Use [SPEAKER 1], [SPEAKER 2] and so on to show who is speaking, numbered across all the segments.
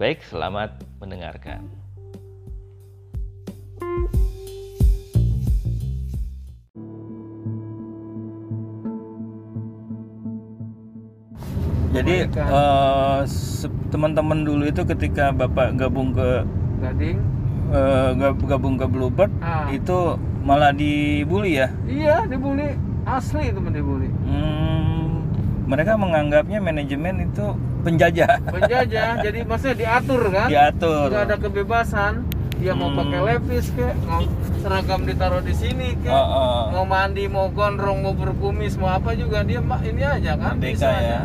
[SPEAKER 1] Baik, selamat mendengarkan.
[SPEAKER 2] Jadi
[SPEAKER 3] Kebaikan.
[SPEAKER 2] eh, se- teman-teman dulu itu ketika bapak gabung ke
[SPEAKER 3] Gading.
[SPEAKER 2] eh, gab- gabung ke Bluebird
[SPEAKER 3] Ah.
[SPEAKER 2] itu malah dibully ya.
[SPEAKER 3] Iya, dibully. Asli temen dibully.
[SPEAKER 2] Hmm, mereka menganggapnya manajemen itu penjajah
[SPEAKER 3] Penjajah, jadi maksudnya diatur kan?
[SPEAKER 2] diatur.
[SPEAKER 3] Nggak ada kebebasan. Dia mau
[SPEAKER 2] Hmm.
[SPEAKER 3] pakai levis kek, mau seragam ditaruh di sini kek.
[SPEAKER 2] Oh, oh.
[SPEAKER 3] Mau mandi, mau gondrong, mau berkumis, mau apa juga dia ma- ini aja kan
[SPEAKER 2] Merdeka ya.
[SPEAKER 3] bisa
[SPEAKER 2] Hmm.
[SPEAKER 3] aja.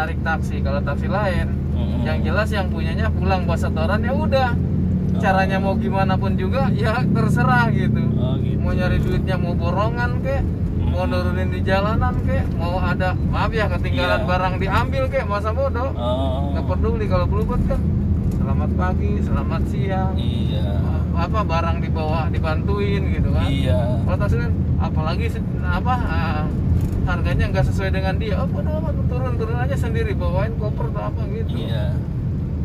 [SPEAKER 3] Narik taksi kalau taksi lain.
[SPEAKER 2] Mm-mm.
[SPEAKER 3] Yang jelas yang punyanya pulang buat setoran
[SPEAKER 2] Ah.
[SPEAKER 3] ya udah. Caranya mau gimana pun juga ya terserah gitu.
[SPEAKER 2] Oh, gitu.
[SPEAKER 3] mau nyari duitnya mau borongan kek mau
[SPEAKER 2] Hmm.
[SPEAKER 3] nurunin di jalanan kek mau ada maaf ya ketinggalan
[SPEAKER 2] Iya.
[SPEAKER 3] barang diambil kek masa bodoh
[SPEAKER 2] Oh,
[SPEAKER 3] nggak peduli kalau bluebird kan selamat pagi selamat siang
[SPEAKER 2] Iya.
[SPEAKER 3] apa barang dibawa dibantuin gitu kan
[SPEAKER 2] Iya.
[SPEAKER 3] kalau taksi kan apalagi se- apa ah, harganya nggak sesuai dengan dia oh bodoh amat turun turun aja sendiri bawain koper atau apa gitu
[SPEAKER 2] Iya.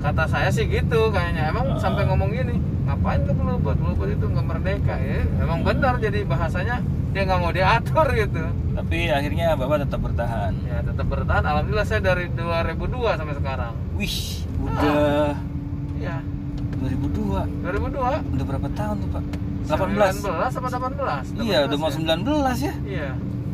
[SPEAKER 3] kata saya sih gitu kayaknya
[SPEAKER 2] Ah.
[SPEAKER 3] emang sampai ngomong gini ngapain ke Bluebird Bluebird itu nggak merdeka ya emang benar jadi bahasanya dia nggak mau diatur gitu
[SPEAKER 2] Tapi akhirnya bapak tetap bertahan.
[SPEAKER 3] ya tetap bertahan alhamdulillah saya dari 2002 sampai sekarang
[SPEAKER 2] Wih, udah
[SPEAKER 3] ya
[SPEAKER 2] 2002.
[SPEAKER 3] 2002
[SPEAKER 2] Udah berapa tahun tuh, Pak? 18.
[SPEAKER 3] 19 apa 18
[SPEAKER 2] Iya, udah mau 19 ya.
[SPEAKER 3] 19 ya? iya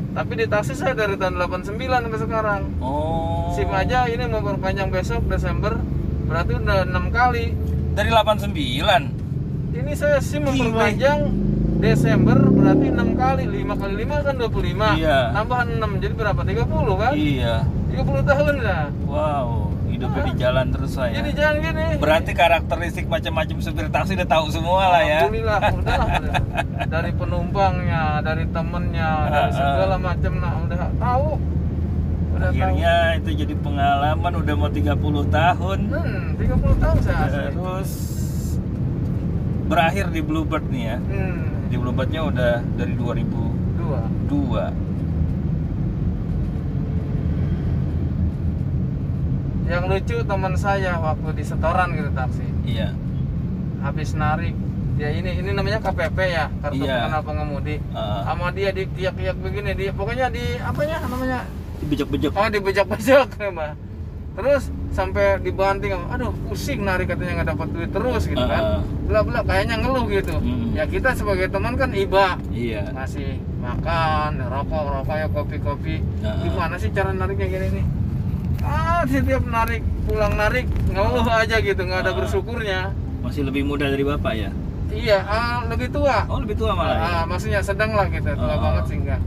[SPEAKER 3] tapi di taksi saya dari tahun 89 sampai sekarang
[SPEAKER 2] Oh.
[SPEAKER 3] SIM aja ini mau perpanjang besok Desember berarti udah enam kali
[SPEAKER 2] Dari 89.
[SPEAKER 3] Ini saya sih
[SPEAKER 2] Gila.
[SPEAKER 3] memperpanjang Desember berarti 6 kali 5 kali 5 kan 25
[SPEAKER 2] Iya.
[SPEAKER 3] Tambah 6 jadi berapa? 30 kan?
[SPEAKER 2] Iya.
[SPEAKER 3] 30 tahun lah
[SPEAKER 2] Wow, hidupnya di jalan terus lah ya.
[SPEAKER 3] Jadi jangan gini
[SPEAKER 2] Berarti karakteristik macam-macam supir taksi udah tahu semua lah ya.
[SPEAKER 3] Alhamdulillah udahlah, udah. Dari penumpangnya, dari temennya,
[SPEAKER 2] Ah,
[SPEAKER 3] dari
[SPEAKER 2] ah.
[SPEAKER 3] segala macam Nah udah tahu Udah
[SPEAKER 2] Akhirnya itu jadi pengalaman udah mau 30 tahun.
[SPEAKER 3] tahu Hmm 30 tahun
[SPEAKER 2] Iya,
[SPEAKER 3] saya asli
[SPEAKER 2] Terus berakhir di Bluebird nih ya.
[SPEAKER 3] Hmm
[SPEAKER 2] Di Bluebirdnya udah dari 2002.
[SPEAKER 3] Dua Yang lucu teman saya waktu di setoran gitu taksi
[SPEAKER 2] Iya.
[SPEAKER 3] habis narik ya ini ini namanya KPP ya kartu
[SPEAKER 2] Iya.
[SPEAKER 3] pengenal pengemudi
[SPEAKER 2] Uh,
[SPEAKER 3] sama dia di kiak-kiak begini di pokoknya di apanya namanya
[SPEAKER 2] Bejek-bejek.
[SPEAKER 3] oh di bejak-bejak mbak terus sampai dibanting aduh pusing narik katanya nggak dapat duit terus gitu
[SPEAKER 2] Ah.
[SPEAKER 3] kan bla bla kayaknya ngeluh gitu
[SPEAKER 2] Hmm.
[SPEAKER 3] ya kita sebagai teman kan iba
[SPEAKER 2] Iya.
[SPEAKER 3] masih makan rokok rokok ya kopi kopi
[SPEAKER 2] Ah.
[SPEAKER 3] gimana sih cara nariknya gini nih ah setiap narik pulang narik ngeluh aja gitu nggak ada
[SPEAKER 2] Ah.
[SPEAKER 3] bersyukurnya
[SPEAKER 2] Masih lebih muda dari bapak ya?
[SPEAKER 3] Iya, ah, lebih tua.
[SPEAKER 2] Oh lebih tua malah. ya?
[SPEAKER 3] Ah, maksudnya sedang lah kita, tua
[SPEAKER 2] Ah.
[SPEAKER 3] banget sih enggak.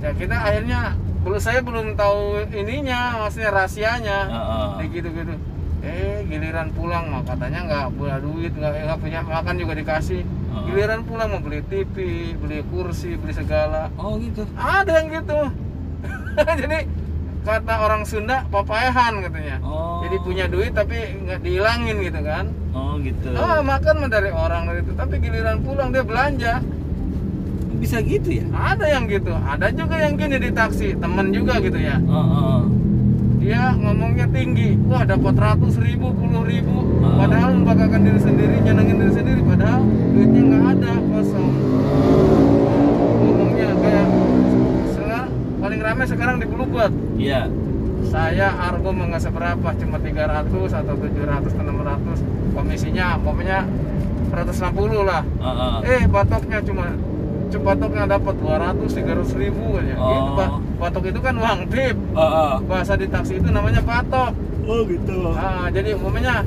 [SPEAKER 3] Ya kita akhirnya belum saya belum tahu ininya, maksudnya rahasianya.
[SPEAKER 2] Ah, ah.
[SPEAKER 3] Kayak gitu-gitu. Eh, giliran pulang mah katanya nggak punya duit, nggak nggak punya makan juga dikasih.
[SPEAKER 2] Ah.
[SPEAKER 3] Giliran pulang mau beli TV, beli kursi, beli segala.
[SPEAKER 2] Oh gitu.
[SPEAKER 3] Ada yang gitu. Jadi kata orang Sunda papayahan katanya.
[SPEAKER 2] Oh.
[SPEAKER 3] Jadi punya duit tapi nggak dihilangin gitu kan.
[SPEAKER 2] Oh gitu.
[SPEAKER 3] Oh, makan mah dari orang dari itu, tapi giliran pulang dia belanja.
[SPEAKER 2] Bisa gitu ya?
[SPEAKER 3] Ada yang gitu, ada juga yang gini di taksi, temen juga gitu ya.
[SPEAKER 2] Oh, oh.
[SPEAKER 3] Dia ngomongnya tinggi, wah dapat ratus ribu, puluh ribu,
[SPEAKER 2] Ah.
[SPEAKER 3] padahal membanggakan diri sendiri, nyenengin diri sendiri, padahal duitnya nggak ada, kosong. Ngomongnya kayak sekarang paling ramai sekarang di Bluebird.
[SPEAKER 2] Iya.
[SPEAKER 3] Saya argo mah nggak seberapa, cuma 300 atau 700 atau 600 komisinya, pokoknya 160 lah.
[SPEAKER 2] Oh, oh.
[SPEAKER 3] eh batoknya cuma cuma batoknya dapat 200 300 ribu kayaknya gitu
[SPEAKER 2] Oh.
[SPEAKER 3] pak batok itu kan uang tip
[SPEAKER 2] Oh, oh.
[SPEAKER 3] bahasa di taksi itu namanya batok
[SPEAKER 2] Oh, gitu.
[SPEAKER 3] Ah, jadi umumnya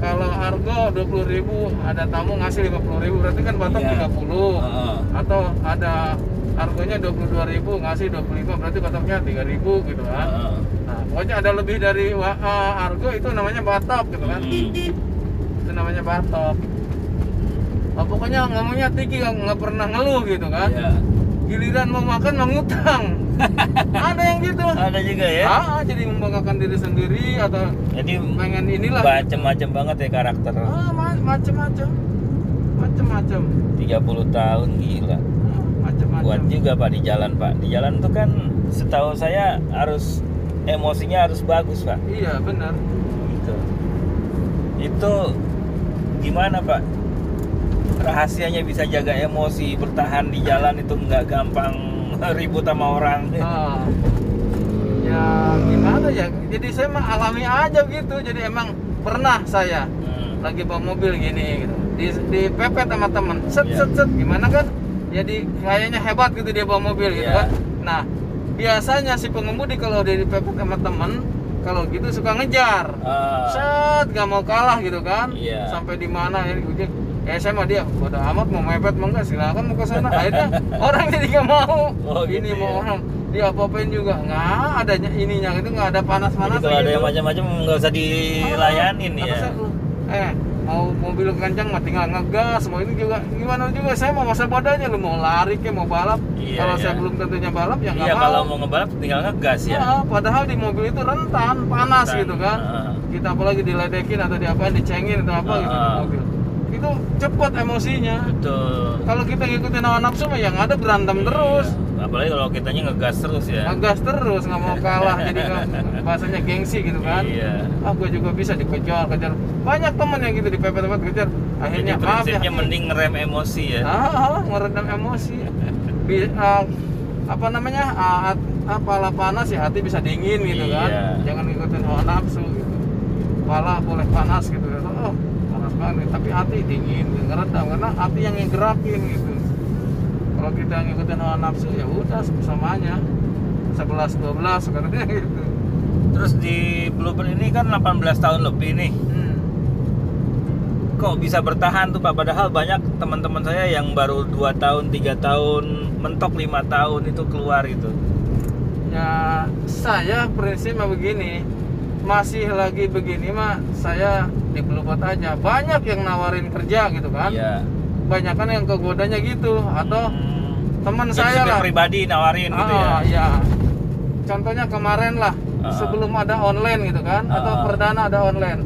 [SPEAKER 3] kalau argo 20 ribu ada tamu ngasih 50 ribu berarti kan batok
[SPEAKER 2] Iya.
[SPEAKER 3] 30
[SPEAKER 2] Oh, oh.
[SPEAKER 3] atau ada argonya 22 ribu ngasih 25 berarti batoknya 3 ribu gitu
[SPEAKER 2] Oh,
[SPEAKER 3] kan
[SPEAKER 2] oh.
[SPEAKER 3] eh, nah pokoknya ada lebih dari wa- ah, argo itu namanya batok gitu kan
[SPEAKER 2] Hmm.
[SPEAKER 3] itu namanya batok oh, pokoknya ngomongnya tinggi nggak nggak pernah ngeluh gitu kan
[SPEAKER 2] Iya.
[SPEAKER 3] giliran mau makan mengutang ada yang gitu
[SPEAKER 2] Ada juga ya.
[SPEAKER 3] ah, jadi membanggakan diri sendiri atau
[SPEAKER 2] Jadi
[SPEAKER 3] pengen inilah
[SPEAKER 2] macam-macam banget ya karakter.
[SPEAKER 3] ah, ma- macem-macem macem-macem
[SPEAKER 2] 30 tahun gila.
[SPEAKER 3] Ah, macem-macem
[SPEAKER 2] Kuat juga Pak di jalan, Pak. Di jalan tuh kan setahu saya harus emosinya harus bagus, Pak.
[SPEAKER 3] iya benar
[SPEAKER 2] Gitu. Itu gimana, Pak? Rahasianya bisa jaga emosi, bertahan di jalan itu nggak gampang ribut sama orang.
[SPEAKER 3] Ah. ya gimana ya jadi saya mah alami aja gitu jadi emang pernah saya
[SPEAKER 2] Hmm.
[SPEAKER 3] lagi bawa mobil gini gitu di, dipepet sama temen set
[SPEAKER 2] Iya.
[SPEAKER 3] set set gimana kan jadi kayaknya hebat gitu dia bawa mobil gitu
[SPEAKER 2] Iya.
[SPEAKER 3] kan nah biasanya si pengemudi kalau dia dipepet sama temen kalau gitu suka ngejar
[SPEAKER 2] Ah.
[SPEAKER 3] set gak mau kalah gitu kan
[SPEAKER 2] Iya.
[SPEAKER 3] sampai di mana ya gue ya saya mah dia bodo amat mau mepet mau nggak silakan mau ke sana akhirnya orang jadi gak mau
[SPEAKER 2] Oh, gitu
[SPEAKER 3] ini
[SPEAKER 2] ya.
[SPEAKER 3] mau orang dia apa-apain juga nggak ada ininya itu nggak ada gitu.
[SPEAKER 2] Jadi
[SPEAKER 3] panas-panas
[SPEAKER 2] kalau ada yang macam-macam nggak usah dilayanin
[SPEAKER 3] Ah,
[SPEAKER 2] ya.
[SPEAKER 3] kata saya, eh mau mobil kencang mah tinggal ngegas mau ini juga gimana juga saya mau masa badannya lu mau lari ke mau balap
[SPEAKER 2] Iya,
[SPEAKER 3] kalau
[SPEAKER 2] iya.
[SPEAKER 3] saya belum tentunya balap ya nggak
[SPEAKER 2] Iya
[SPEAKER 3] mau,
[SPEAKER 2] kalau mau ngebalap tinggal ngegas ya.
[SPEAKER 3] Ah, padahal di mobil itu rentan panas
[SPEAKER 2] Rentan,
[SPEAKER 3] gitu kan
[SPEAKER 2] ah.
[SPEAKER 3] kita apalagi diledekin atau diapain dicengin atau apa gitu di
[SPEAKER 2] Ah.
[SPEAKER 3] mobil itu cepat emosinya
[SPEAKER 2] Betul.
[SPEAKER 3] kalau kita ngikutin hawa nafsu mah yang ada berantem terus
[SPEAKER 2] Iya. Apalagi kalau kitanya ngegas terus ya.
[SPEAKER 3] ngegas terus nggak mau kalah jadi nggak- bahasanya gengsi gitu kan
[SPEAKER 2] Iya.
[SPEAKER 3] ah gue juga bisa dikejar kejar banyak teman yang gitu dipepet-pepet kejar
[SPEAKER 2] Jadi
[SPEAKER 3] akhirnya maaf ya
[SPEAKER 2] prinsipnya mending ngerem emosi ya.
[SPEAKER 3] ah, ah, meredam emosi Bi- ah, apa namanya ah, at- ah, pala panas ya hati bisa dingin gitu kan
[SPEAKER 2] Iya.
[SPEAKER 3] jangan ngikutin hawa nafsu gitu pala boleh panas gitu kan oh panas banget tapi hati dingin gitu, ngeredam karena hati yang ngegerakin gitu kalau kita ngikutin hawa nafsu ya udah samanya 11 12 katanya gitu
[SPEAKER 2] Terus di Bluebird ini kan 18 tahun lebih nih.
[SPEAKER 3] hmm.
[SPEAKER 2] Kok bisa bertahan tuh Pak? Padahal banyak teman-teman saya yang baru 2 tahun, 3 tahun, mentok 5 tahun itu keluar gitu.
[SPEAKER 3] ya saya prinsipnya begini masih lagi begini mah saya di Bluebird aja banyak yang nawarin kerja gitu kan
[SPEAKER 2] Iya.
[SPEAKER 3] banyak kan yang kegodanya gitu atau
[SPEAKER 2] Hmm.
[SPEAKER 3] teman
[SPEAKER 2] Jadi
[SPEAKER 3] saya
[SPEAKER 2] supir
[SPEAKER 3] lah
[SPEAKER 2] pribadi nawarin gitu ya.
[SPEAKER 3] Ah, iya. contohnya kemarin lah
[SPEAKER 2] Ah.
[SPEAKER 3] sebelum ada online gitu kan atau
[SPEAKER 2] Ah.
[SPEAKER 3] perdana ada online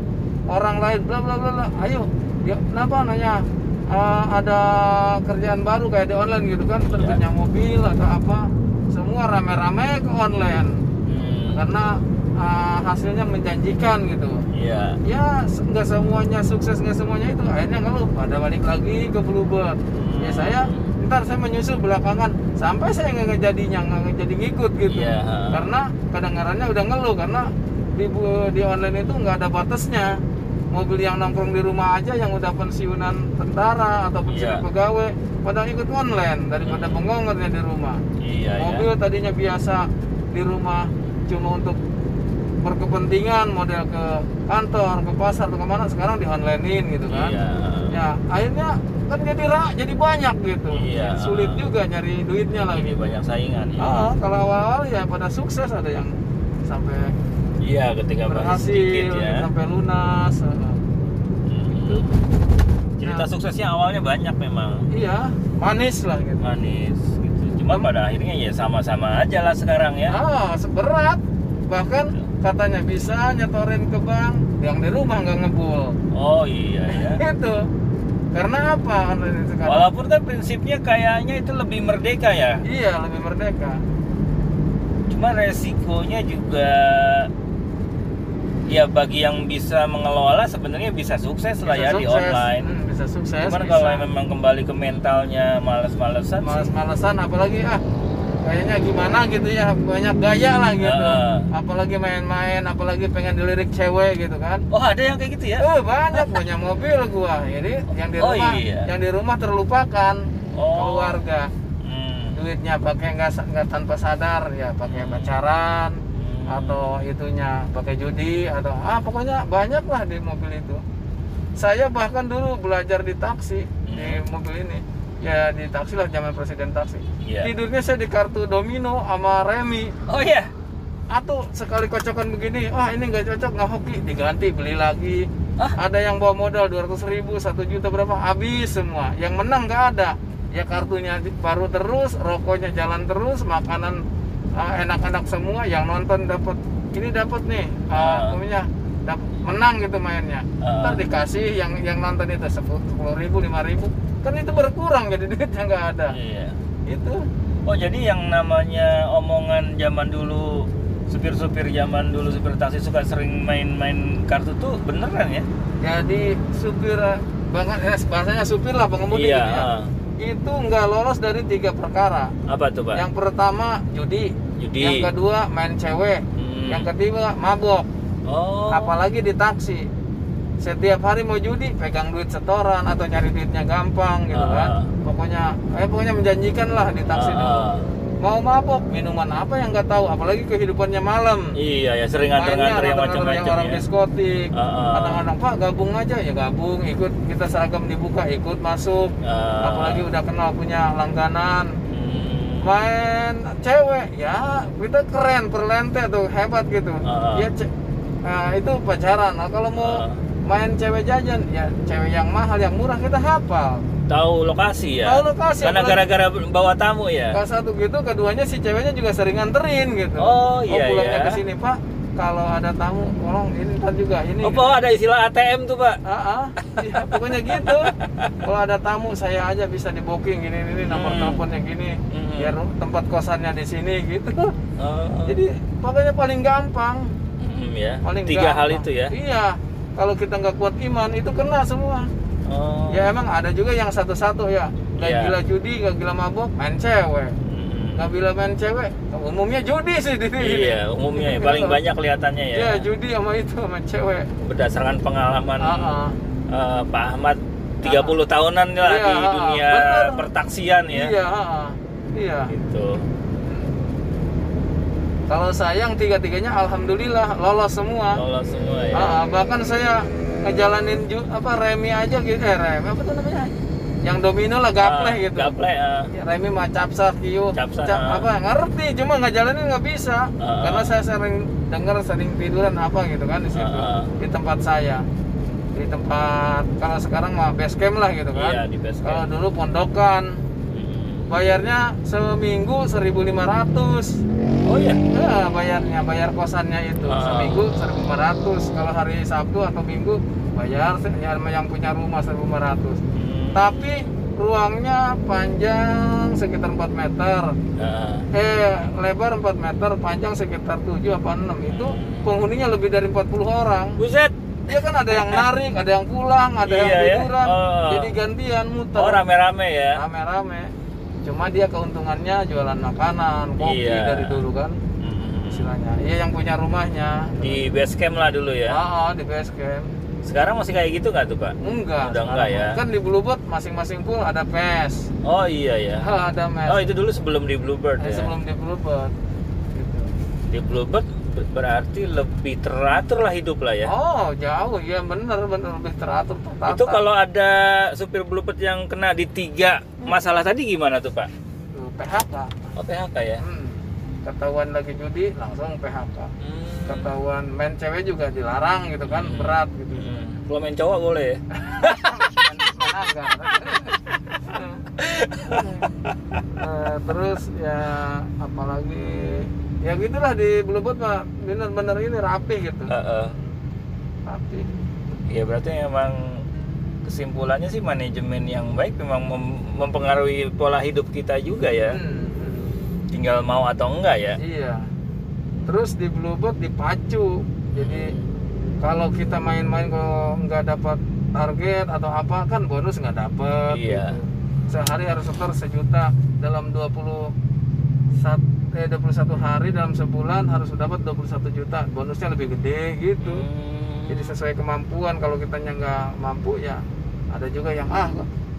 [SPEAKER 3] orang lain bla bla bla bla, ayo ya kenapa nanya "Ah, ada kerjaan baru kayak di online gitu kan
[SPEAKER 2] Iya.
[SPEAKER 3] terbitnya mobil atau apa semua rame-rame ke online
[SPEAKER 2] Hmm.
[SPEAKER 3] karena uh, hasilnya menjanjikan gitu
[SPEAKER 2] Iya.
[SPEAKER 3] ya se- nggak semuanya sukses nggak semuanya itu akhirnya kalau pada balik lagi ke Bluebird
[SPEAKER 2] Hmm.
[SPEAKER 3] ya saya ntar saya menyusul belakangan sampai saya nggak ngejadinya nggak ngejadi ngikut gitu
[SPEAKER 2] Iya.
[SPEAKER 3] karena kedengarannya udah ngeluh karena di bu- di online itu nggak ada batasnya mobil yang nongkrong di rumah aja yang udah pensiunan tentara atau
[SPEAKER 2] Iya.
[SPEAKER 3] pensiunan
[SPEAKER 2] Hmm.
[SPEAKER 3] pegawai pada ikut online daripada bengongnya di rumah
[SPEAKER 2] Iya,
[SPEAKER 3] mobil kan?
[SPEAKER 2] ya.
[SPEAKER 3] tadinya biasa di rumah cuma untuk berkepentingan model ke kantor ke pasar atau kemana sekarang di onlinein gitu kan
[SPEAKER 2] Iya.
[SPEAKER 3] ya akhirnya kan jadi rak jadi banyak gitu
[SPEAKER 2] Iya.
[SPEAKER 3] sulit juga nyari duitnya
[SPEAKER 2] Lagi
[SPEAKER 3] lagi
[SPEAKER 2] banyak saingan. ya.
[SPEAKER 3] gitu. Ah, kalau awal-awal ya pada sukses ada yang sampai
[SPEAKER 2] Iya, ketika bahas
[SPEAKER 3] berhasil
[SPEAKER 2] sedikit ya.
[SPEAKER 3] sampai lunas ah.
[SPEAKER 2] Hmm. Cerita
[SPEAKER 3] Nah.
[SPEAKER 2] suksesnya awalnya banyak memang
[SPEAKER 3] iya manis lah gitu
[SPEAKER 2] manis gitu. Cuma
[SPEAKER 3] Em-
[SPEAKER 2] pada akhirnya ya sama-sama aja lah sekarang ya. Iya.
[SPEAKER 3] Ah, seberat. Bahkan katanya bisa nyetorin ke bank yang di rumah nggak ngebul.
[SPEAKER 2] Oh iya ya.
[SPEAKER 3] Itu. Karena apa online itu sekarang?
[SPEAKER 2] Walaupun kan prinsipnya kayaknya itu lebih merdeka ya.
[SPEAKER 3] Iya, lebih merdeka.
[SPEAKER 2] Cuma resikonya juga ya bagi yang bisa mengelola sebenarnya bisa sukses lah ya di
[SPEAKER 3] sukses.
[SPEAKER 2] online.
[SPEAKER 3] Hmm, bisa sukses.
[SPEAKER 2] Cuman
[SPEAKER 3] bisa.
[SPEAKER 2] kalau memang kembali ke mentalnya males-malesan sih
[SPEAKER 3] males-malesan apalagi ah kayaknya gimana gitu ya, banyak gaya lah gitu.
[SPEAKER 2] Ah.
[SPEAKER 3] Apalagi main-main, apalagi pengen dilirik cewek gitu kan.
[SPEAKER 2] Oh ada yang kayak gitu ya?
[SPEAKER 3] Eh, banyak punya mobil gua. Jadi yang di
[SPEAKER 2] Oh,
[SPEAKER 3] rumah,
[SPEAKER 2] iya.
[SPEAKER 3] yang di rumah terlupakan
[SPEAKER 2] Oh.
[SPEAKER 3] keluarga.
[SPEAKER 2] Hmm.
[SPEAKER 3] duitnya pakai nggak sa- nggak tanpa sadar ya pakai pacaran atau itunya pakai judi atau ah pokoknya banyak lah di mobil itu saya bahkan dulu belajar di taksi di mobil ini ya di taksi lah zaman presiden taksi
[SPEAKER 2] Iya.
[SPEAKER 3] tidurnya saya di kartu domino sama remi
[SPEAKER 2] Oh iya.
[SPEAKER 3] "Ah, atau sekali kocokan begini wah ini nggak cocok nggak hoki diganti beli lagi Ada yang bawa modal 200 ribu, 1 juta berapa, habis semua. Yang menang nggak ada. Ya kartunya di- baru terus, rokoknya jalan terus, makanan uh, enak-enak semua. Yang nonton dapat ini dapat nih, uh,
[SPEAKER 2] Ah.
[SPEAKER 3] pokoknya dap- menang gitu mainnya.
[SPEAKER 2] Ah.
[SPEAKER 3] Ntar dikasih yang yang nonton itu 10 ribu, 5 ribu. Kan itu berkurang jadi duitnya nggak ada.
[SPEAKER 2] Iya.
[SPEAKER 3] Itu
[SPEAKER 2] Oh jadi yang namanya omongan zaman dulu supir-supir zaman dulu supir taksi suka sering main-main kartu tuh beneran ya?
[SPEAKER 3] jadi supir banget eh, bahasanya supir lah pengemudi
[SPEAKER 2] iya.
[SPEAKER 3] gitu ya.
[SPEAKER 2] ah.
[SPEAKER 3] itu nggak lolos dari tiga perkara
[SPEAKER 2] Apa tuh pak?
[SPEAKER 3] yang pertama judi
[SPEAKER 2] Judi.
[SPEAKER 3] yang kedua main cewek
[SPEAKER 2] Hmm.
[SPEAKER 3] yang ketiga mabok
[SPEAKER 2] Oh.
[SPEAKER 3] apalagi di taksi setiap hari mau judi pegang duit setoran atau nyari duitnya gampang gitu
[SPEAKER 2] Ah.
[SPEAKER 3] kan pokoknya eh pokoknya menjanjikan lah di taksi
[SPEAKER 2] Ah,
[SPEAKER 3] dulu
[SPEAKER 2] ah.
[SPEAKER 3] mau mabok minuman apa yang nggak tahu apalagi kehidupannya malam
[SPEAKER 2] Iya ya sering nganter-nganter yang
[SPEAKER 3] nganter-nganter
[SPEAKER 2] macam-macam
[SPEAKER 3] yang orang
[SPEAKER 2] ya.
[SPEAKER 3] diskotik
[SPEAKER 2] Ah, ah.
[SPEAKER 3] kadang-kadang pak gabung aja ya gabung ikut kita seragam dibuka ikut masuk
[SPEAKER 2] Ah.
[SPEAKER 3] apalagi udah kenal punya langganan
[SPEAKER 2] Hmm.
[SPEAKER 3] main cewek ya kita keren perlente tuh hebat gitu
[SPEAKER 2] Ah.
[SPEAKER 3] ya ce- nah, itu pacaran nah, kalau mau
[SPEAKER 2] Ah.
[SPEAKER 3] main cewek jajan ya cewek yang mahal yang murah kita hafal
[SPEAKER 2] Tahu lokasi ya.
[SPEAKER 3] Tahu lokasi,
[SPEAKER 2] Karena
[SPEAKER 3] apalagi-
[SPEAKER 2] gara-gara bawa tamu ya.
[SPEAKER 3] Kalau satu gitu, keduanya si ceweknya juga sering nganterin gitu.
[SPEAKER 2] Oh, iya,
[SPEAKER 3] pulangnya
[SPEAKER 2] iya.
[SPEAKER 3] ke sini Pak, kalau ada tamu, tolong ini ntar juga ini.
[SPEAKER 2] Oh, Pak, ada istilah ATM tuh, Pak.
[SPEAKER 3] Ah, ah. Ya, pokoknya gitu. Kalau ada tamu saya aja bisa di booking gini ini nomor
[SPEAKER 2] Hmm.
[SPEAKER 3] teleponnya gini,
[SPEAKER 2] Hmm.
[SPEAKER 3] biar tempat kosannya di sini gitu.
[SPEAKER 2] Oh.
[SPEAKER 3] Jadi pokoknya paling gampang,
[SPEAKER 2] Mm, ya.
[SPEAKER 3] paling
[SPEAKER 2] Tiga hal
[SPEAKER 3] gampang.
[SPEAKER 2] itu ya.
[SPEAKER 3] Iya. Kalau kita nggak kuat iman itu kena semua.
[SPEAKER 2] Oh.
[SPEAKER 3] Ya emang ada juga yang satu-satu ya. Gak
[SPEAKER 2] Iya.
[SPEAKER 3] gila judi, gak gila mabok, main cewek.
[SPEAKER 2] Mm.
[SPEAKER 3] Gak bila main cewek, umumnya judi sih di sini.
[SPEAKER 2] Iya, umumnya ya. paling banyak kelihatannya ya.
[SPEAKER 3] Iya, judi sama itu sama cewek.
[SPEAKER 2] Berdasarkan pengalaman
[SPEAKER 3] Ah, ah.
[SPEAKER 2] eh, Pak Ahmad 30 tahunan lah
[SPEAKER 3] Iya,
[SPEAKER 2] di dunia
[SPEAKER 3] benar.
[SPEAKER 2] pertaksian ya.
[SPEAKER 3] Iya, ah, ah. Iya.
[SPEAKER 2] Gitu.
[SPEAKER 3] Kalau sayang tiga-tiganya alhamdulillah lolos semua.
[SPEAKER 2] Lolos semua ya.
[SPEAKER 3] Ah, ah. bahkan saya ngejalanin ju- apa remi aja gitu, eh remi apa tuh namanya? Yang domino lah gapleh
[SPEAKER 2] Ah,
[SPEAKER 3] gitu.
[SPEAKER 2] Gaple. ah.
[SPEAKER 3] Ya, Remi mah capsa, kiu,
[SPEAKER 2] Capsa,
[SPEAKER 3] cap-
[SPEAKER 2] ah.
[SPEAKER 3] apa ngerti cuma ngejalanin nggak bisa
[SPEAKER 2] Ah.
[SPEAKER 3] karena saya sering dengar sering tiduran apa gitu kan di situ
[SPEAKER 2] Ah.
[SPEAKER 3] di tempat saya di tempat kalau sekarang mah base camp lah gitu
[SPEAKER 2] Iya,
[SPEAKER 3] kan
[SPEAKER 2] di base
[SPEAKER 3] kalau
[SPEAKER 2] camp.
[SPEAKER 3] dulu pondokan
[SPEAKER 2] Mm.
[SPEAKER 3] bayarnya seminggu 1500
[SPEAKER 2] Oh iya.
[SPEAKER 3] nah, bayarnya bayar kosannya itu
[SPEAKER 2] Ah.
[SPEAKER 3] seminggu 1500 kalau hari Sabtu atau Minggu bayar se- ya, yang punya rumah 1500
[SPEAKER 2] Mm.
[SPEAKER 3] tapi ruangnya panjang sekitar 4 meter
[SPEAKER 2] Ah.
[SPEAKER 3] eh lebar 4 meter panjang sekitar 7 apa 6 itu penghuninya lebih dari 40 orang
[SPEAKER 2] Buset.
[SPEAKER 3] ya kan ada yang narik ada yang pulang ada yang
[SPEAKER 2] Iya ya?
[SPEAKER 3] tiduran
[SPEAKER 2] Oh.
[SPEAKER 3] jadi gantian muter
[SPEAKER 2] Oh, rame-rame ya.
[SPEAKER 3] Ah. rame-rame cuma dia keuntungannya jualan makanan kopi
[SPEAKER 2] Iya.
[SPEAKER 3] dari dulu kan
[SPEAKER 2] Mm.
[SPEAKER 3] istilahnya iya yang punya rumahnya
[SPEAKER 2] Di base camp lah dulu ya.
[SPEAKER 3] Ah, ah, di base camp
[SPEAKER 2] Sekarang masih kayak gitu nggak tuh, Pak?
[SPEAKER 3] enggak
[SPEAKER 2] Udah enggak ya?
[SPEAKER 3] sekarang. kan di Bluebird masing-masing pool ada pes
[SPEAKER 2] Oh iya ya.
[SPEAKER 3] ada mes
[SPEAKER 2] Oh itu dulu sebelum di Bluebird
[SPEAKER 3] Eh,
[SPEAKER 2] ya.
[SPEAKER 3] sebelum di Bluebird gitu.
[SPEAKER 2] Di Bluebird ber- berarti lebih teratur lah hidup lah ya.
[SPEAKER 3] oh jauh ya bener bener lebih teratur tertata
[SPEAKER 2] itu kalau ada supir Bluebird yang kena di tiga
[SPEAKER 3] Hmm.
[SPEAKER 2] masalah tadi gimana tuh Pak?
[SPEAKER 3] Tuh, PHK
[SPEAKER 2] Oh PHK ya.
[SPEAKER 3] Hmm. ketahuan lagi judi langsung PHK
[SPEAKER 2] Hmm.
[SPEAKER 3] ketahuan main cewek juga dilarang gitu kan berat gitu
[SPEAKER 2] Hmm. Kalau main cowok boleh ya?
[SPEAKER 3] Main anggar. Eh, terus ya apalagi ya gitulah di Bluebird mah bener-bener ini rapi gitu
[SPEAKER 2] Heeh.
[SPEAKER 3] rapi
[SPEAKER 2] Ya berarti emang kesimpulannya sih manajemen yang baik memang mem- mempengaruhi pola hidup kita juga ya.
[SPEAKER 3] Hmm, hmm.
[SPEAKER 2] Tinggal mau atau enggak ya.
[SPEAKER 3] Iya. Terus di Bluebird dipacu. Jadi kalau kita main-main kalau nggak dapat target atau apa kan bonus nggak dapat.
[SPEAKER 2] Iya.
[SPEAKER 3] gitu. Sehari harus setor sejuta dalam 20 sat- eh, 21 hari dalam sebulan harus dapat 21 juta. Bonusnya lebih gede gitu.
[SPEAKER 2] Hmm.
[SPEAKER 3] Jadi sesuai kemampuan kalau kitanya nggak mampu ya ada juga yang ah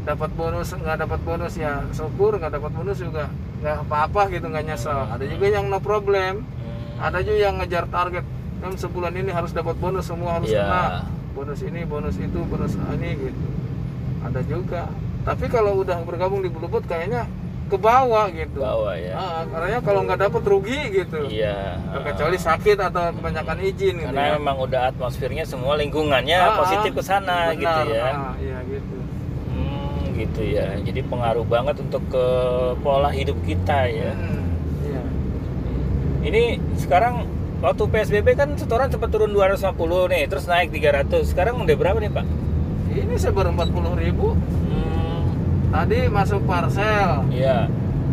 [SPEAKER 3] dapat bonus nggak dapat bonus ya syukur nggak dapat bonus juga nggak apa-apa gitu nggak nyesel ada juga yang no problem
[SPEAKER 2] Hmm.
[SPEAKER 3] ada juga yang ngejar target kan sebulan ini harus dapat bonus semua harus
[SPEAKER 2] Iya.
[SPEAKER 3] kena bonus ini bonus itu bonus ini gitu ada juga tapi kalau udah bergabung di Bluebird kayaknya ke bawah gitu.
[SPEAKER 2] Bawah ya.
[SPEAKER 3] Ah, karena kalau nggak dapat rugi gitu.
[SPEAKER 2] Iya.
[SPEAKER 3] Terkecuali sakit atau kebanyakan izin gitu.
[SPEAKER 2] Karena memang udah atmosfernya semua lingkungannya
[SPEAKER 3] Ah,
[SPEAKER 2] positif ke sana
[SPEAKER 3] benar.
[SPEAKER 2] gitu ya.
[SPEAKER 3] Ah, iya gitu.
[SPEAKER 2] Hmm, gitu ya. Jadi pengaruh banget untuk ke pola hidup kita ya.
[SPEAKER 3] Hmm, iya.
[SPEAKER 2] Ini sekarang waktu PSBB kan setoran sempat turun 250 nih, terus naik 300. Sekarang udah berapa nih, Pak?
[SPEAKER 3] Ini seber 40.000
[SPEAKER 2] Hmm,
[SPEAKER 3] Tadi masuk parcel.
[SPEAKER 2] iya.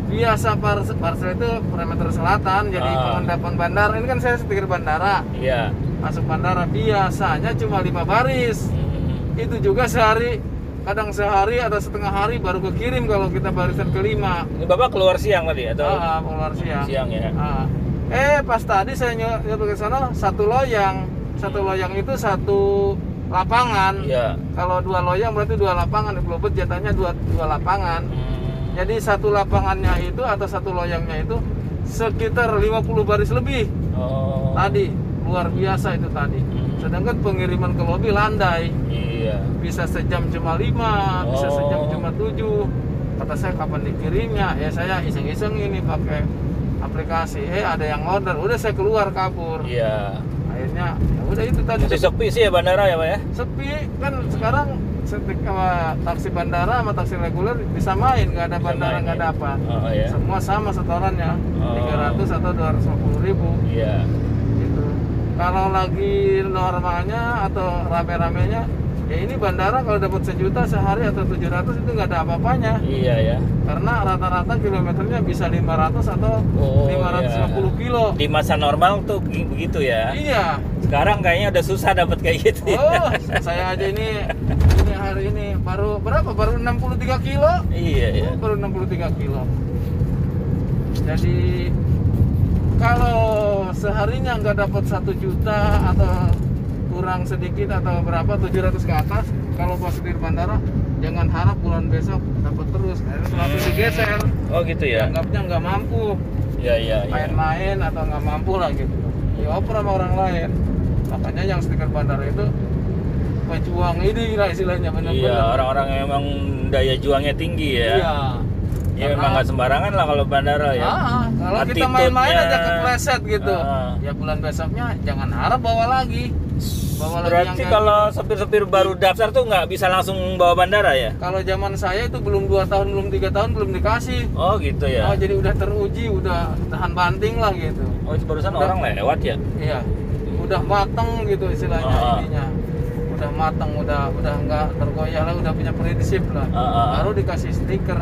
[SPEAKER 3] Biasa parcel, parcel itu parameter selatan. Jadi
[SPEAKER 2] Ah.
[SPEAKER 3] pengendapan bandara ini kan saya setir bandara.
[SPEAKER 2] Iya.
[SPEAKER 3] Masuk bandara biasanya cuma lima baris.
[SPEAKER 2] Hmm,
[SPEAKER 3] Itu juga sehari kadang sehari atau setengah hari baru kekirim kalau kita barisan kelima.
[SPEAKER 2] Ini Bapak keluar siang tadi atau
[SPEAKER 3] Ah, ah, keluar siang.
[SPEAKER 2] siang ya?
[SPEAKER 3] Ah. Eh pas tadi saya ny- nyoba ke sana satu loyang, satu loyang itu satu lapangan.
[SPEAKER 2] Iya.
[SPEAKER 3] Kalau dua loyang berarti dua lapangan. Di Globet jatahnya dua dua lapangan.
[SPEAKER 2] Hmm,
[SPEAKER 3] Jadi satu lapangannya itu atau satu loyangnya itu sekitar 50 baris lebih
[SPEAKER 2] Oh. Hmm.
[SPEAKER 3] tadi luar biasa itu tadi. Sedangkan pengiriman ke lobi landai
[SPEAKER 2] Iya.
[SPEAKER 3] bisa sejam cuma lima, bisa
[SPEAKER 2] Oh.
[SPEAKER 3] sejam cuma tujuh. Kata saya kapan dikirimnya? Ya saya iseng-iseng ini pakai aplikasi. Eh ada yang order, udah saya keluar kabur.
[SPEAKER 2] Iya.
[SPEAKER 3] Akhirnya ya udah itu tadi
[SPEAKER 2] Masih sepi sih ya bandara ya, Pak ya?
[SPEAKER 3] sepi kan sekarang setik sama taksi bandara sama taksi reguler disamain nggak ada bandara
[SPEAKER 2] Disamain,
[SPEAKER 3] nggak ada
[SPEAKER 2] ya.
[SPEAKER 3] apa
[SPEAKER 2] Oh ya.
[SPEAKER 3] semua sama setorannya
[SPEAKER 2] Oh.
[SPEAKER 3] 300 atau 250 ribu
[SPEAKER 2] Iya.
[SPEAKER 3] gitu kalau lagi normalnya atau rame-ramenya ya ini bandara kalau dapat sejuta sehari atau 700 itu nggak ada apa-apanya
[SPEAKER 2] Iya ya.
[SPEAKER 3] karena rata-rata kilometernya bisa 500 atau
[SPEAKER 2] Oh,
[SPEAKER 3] 550
[SPEAKER 2] iya.
[SPEAKER 3] kilo
[SPEAKER 2] Di masa normal tuh gi- begitu ya.
[SPEAKER 3] iya
[SPEAKER 2] Sekarang kayaknya udah susah dapat kayak gitu. ya.
[SPEAKER 3] oh saya aja ini ini hari ini baru berapa baru 63 kilo
[SPEAKER 2] Iya ya.
[SPEAKER 3] baru 63 kilo jadi kalau seharinya nggak dapat satu juta atau kurang sedikit atau berapa 700 ke atas kalau pas di bandara jangan harap bulan besok dapat terus karena selalu digeser
[SPEAKER 2] Oh gitu ya.
[SPEAKER 3] dianggapnya nggak mampu
[SPEAKER 2] Iya iya. iya.
[SPEAKER 3] main-main atau nggak mampu lah gitu dioper sama orang lain makanya yang stiker bandara itu pejuang ini lah istilahnya benar-benar
[SPEAKER 2] Iya orang-orang yang emang daya juangnya tinggi ya. Ya
[SPEAKER 3] Iya. Karena-
[SPEAKER 2] memang nggak sembarangan lah kalau bandara ya.
[SPEAKER 3] Ah, kalau kita
[SPEAKER 2] Attitude-nya.
[SPEAKER 3] main-main aja kepleset gitu.
[SPEAKER 2] Ah.
[SPEAKER 3] Ya bulan besoknya jangan harap bawa lagi. Bawa lagi
[SPEAKER 2] Berarti
[SPEAKER 3] yang gitu.
[SPEAKER 2] kalau sopir-sopir baru daftar tuh nggak bisa langsung bawa bandara ya?
[SPEAKER 3] kalau zaman saya itu belum 2 tahun, belum tiga tahun belum dikasih.
[SPEAKER 2] Oh gitu ya.
[SPEAKER 3] Oh, jadi udah teruji, udah tahan banting lah gitu.
[SPEAKER 2] Oh barusan
[SPEAKER 3] Udah.
[SPEAKER 2] orang lewat ya?
[SPEAKER 3] Iya. Udah mateng gitu istilahnya
[SPEAKER 2] Ah.
[SPEAKER 3] intinya. Udah mateng, udah udah nggak tergoyah lah, udah punya prinsip lah.
[SPEAKER 2] Ah, ah. Hmm.
[SPEAKER 3] Baru dikasih stiker.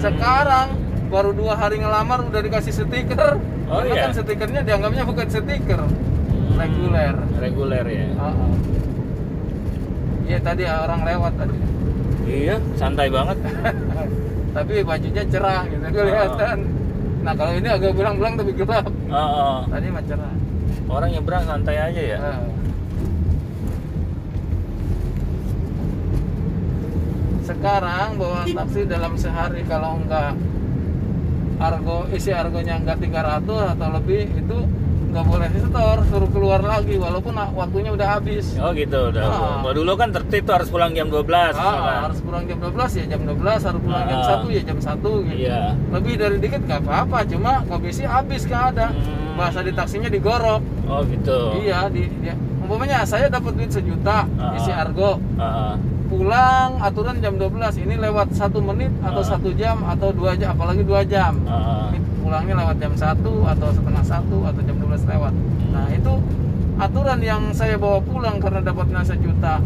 [SPEAKER 3] Sekarang baru dua hari ngelamar udah dikasih stiker.
[SPEAKER 2] Oh,
[SPEAKER 3] Karena
[SPEAKER 2] iya?
[SPEAKER 3] kan stikernya dianggapnya bukan stiker. reguler.
[SPEAKER 2] Reguler ya.
[SPEAKER 3] Heeh. Ah, Iya tadi orang lewat tadi.
[SPEAKER 2] Iya santai banget.
[SPEAKER 3] Tapi bajunya cerah gitu kelihatan. Nah kalau ini agak belang-belang tapi gelap.
[SPEAKER 2] Ah, ah.
[SPEAKER 3] Tadi mah cerah.
[SPEAKER 2] Orang nyebrang santai aja ya.
[SPEAKER 3] Nah. Sekarang bawa taksi dalam sehari kalau enggak argo isi argonya enggak 300 atau lebih itu nggak boleh setor suruh keluar lagi walaupun waktunya udah habis.
[SPEAKER 2] Oh gitu udah.
[SPEAKER 3] Ah.
[SPEAKER 2] Kalau dulu kan tertib tuh harus pulang jam ya 12 misalkan.
[SPEAKER 3] Ah, harus pulang jam 12 ya jam 12, harus pulang jam
[SPEAKER 2] Ah.
[SPEAKER 3] 1 ya jam 1 gitu.
[SPEAKER 2] Iya.
[SPEAKER 3] Lebih dari dikit nggak apa-apa, cuma komisi habis nggak ada.
[SPEAKER 2] Hmm.
[SPEAKER 3] Bahasa di taksinya digorok.
[SPEAKER 2] Oh gitu.
[SPEAKER 3] Iya, di dia. Umpamanya saya dapat duit sejuta
[SPEAKER 2] Ah.
[SPEAKER 3] isi argo.
[SPEAKER 2] Ah, ah.
[SPEAKER 3] Pulang aturan jam 12. Ini lewat satu menit atau
[SPEAKER 2] Ah.
[SPEAKER 3] satu jam atau dua jam, apalagi dua jam.
[SPEAKER 2] Ah, ah.
[SPEAKER 3] Ini pulangnya lewat jam 1 atau setengah satu atau jam 12 lewat. Nah, itu aturan yang saya bawa pulang karena dapatnya sejuta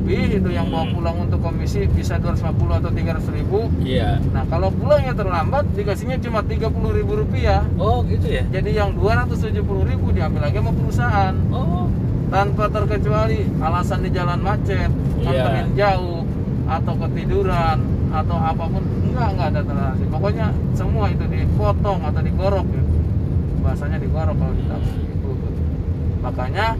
[SPEAKER 3] lebih itu yang bawa
[SPEAKER 2] Hmm.
[SPEAKER 3] pulang untuk komisi bisa 250 atau 300 ribu
[SPEAKER 2] Iya.
[SPEAKER 3] nah kalau pulangnya terlambat dikasihnya cuma 30 ribu rupiah
[SPEAKER 2] Oh gitu ya.
[SPEAKER 3] jadi yang 270 ribu diambil lagi sama perusahaan
[SPEAKER 2] Oh.
[SPEAKER 3] tanpa terkecuali alasan di jalan macet
[SPEAKER 2] Iya.
[SPEAKER 3] anterin jauh atau ketiduran atau apapun enggak enggak ada toleransi pokoknya semua itu dipotong atau digorok gitu bahasanya digorok kalau di taksi di Bluebird. makanya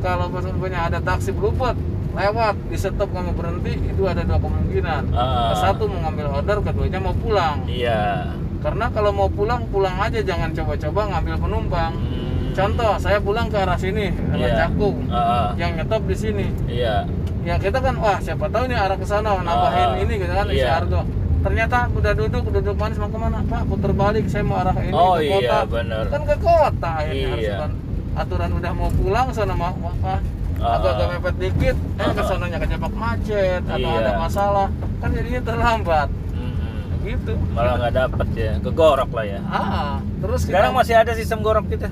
[SPEAKER 3] kalau punya ada taksi bluebird lewat di stop kamu berhenti itu ada dua kemungkinan
[SPEAKER 2] Ah.
[SPEAKER 3] satu mau ngambil order keduanya mau pulang
[SPEAKER 2] Iya.
[SPEAKER 3] karena kalau mau pulang pulang aja jangan coba-coba ngambil penumpang
[SPEAKER 2] Hmm.
[SPEAKER 3] contoh saya pulang ke arah sini
[SPEAKER 2] Iya.
[SPEAKER 3] lewat cakung
[SPEAKER 2] Ah, ah.
[SPEAKER 3] yang nyetop di sini
[SPEAKER 2] Iya.
[SPEAKER 3] ya kita kan wah siapa tahu nih arah ke sana nambahin
[SPEAKER 2] Ah,
[SPEAKER 3] ini gitu kan isi
[SPEAKER 2] iya.
[SPEAKER 3] argo ternyata udah duduk duduk manis mau kemana pak putar balik saya mau arah ini
[SPEAKER 2] Oh
[SPEAKER 3] ke kota
[SPEAKER 2] iya benar.
[SPEAKER 3] kan ke kota akhirnya harus
[SPEAKER 2] Iya.
[SPEAKER 3] kan aturan udah mau pulang sana mau mau apa
[SPEAKER 2] Ah.
[SPEAKER 3] agak-agak mepet dikit eh
[SPEAKER 2] Ah.
[SPEAKER 3] ke sananya kejebak macet atau
[SPEAKER 2] Iya.
[SPEAKER 3] ada masalah kan jadinya terlambat
[SPEAKER 2] Mm-mm.
[SPEAKER 3] gitu
[SPEAKER 2] Hmm. Malah nggak dapet ya, kegorok lah ya.
[SPEAKER 3] ah terus kita-
[SPEAKER 2] Sekarang masih ada sistem gorok kita.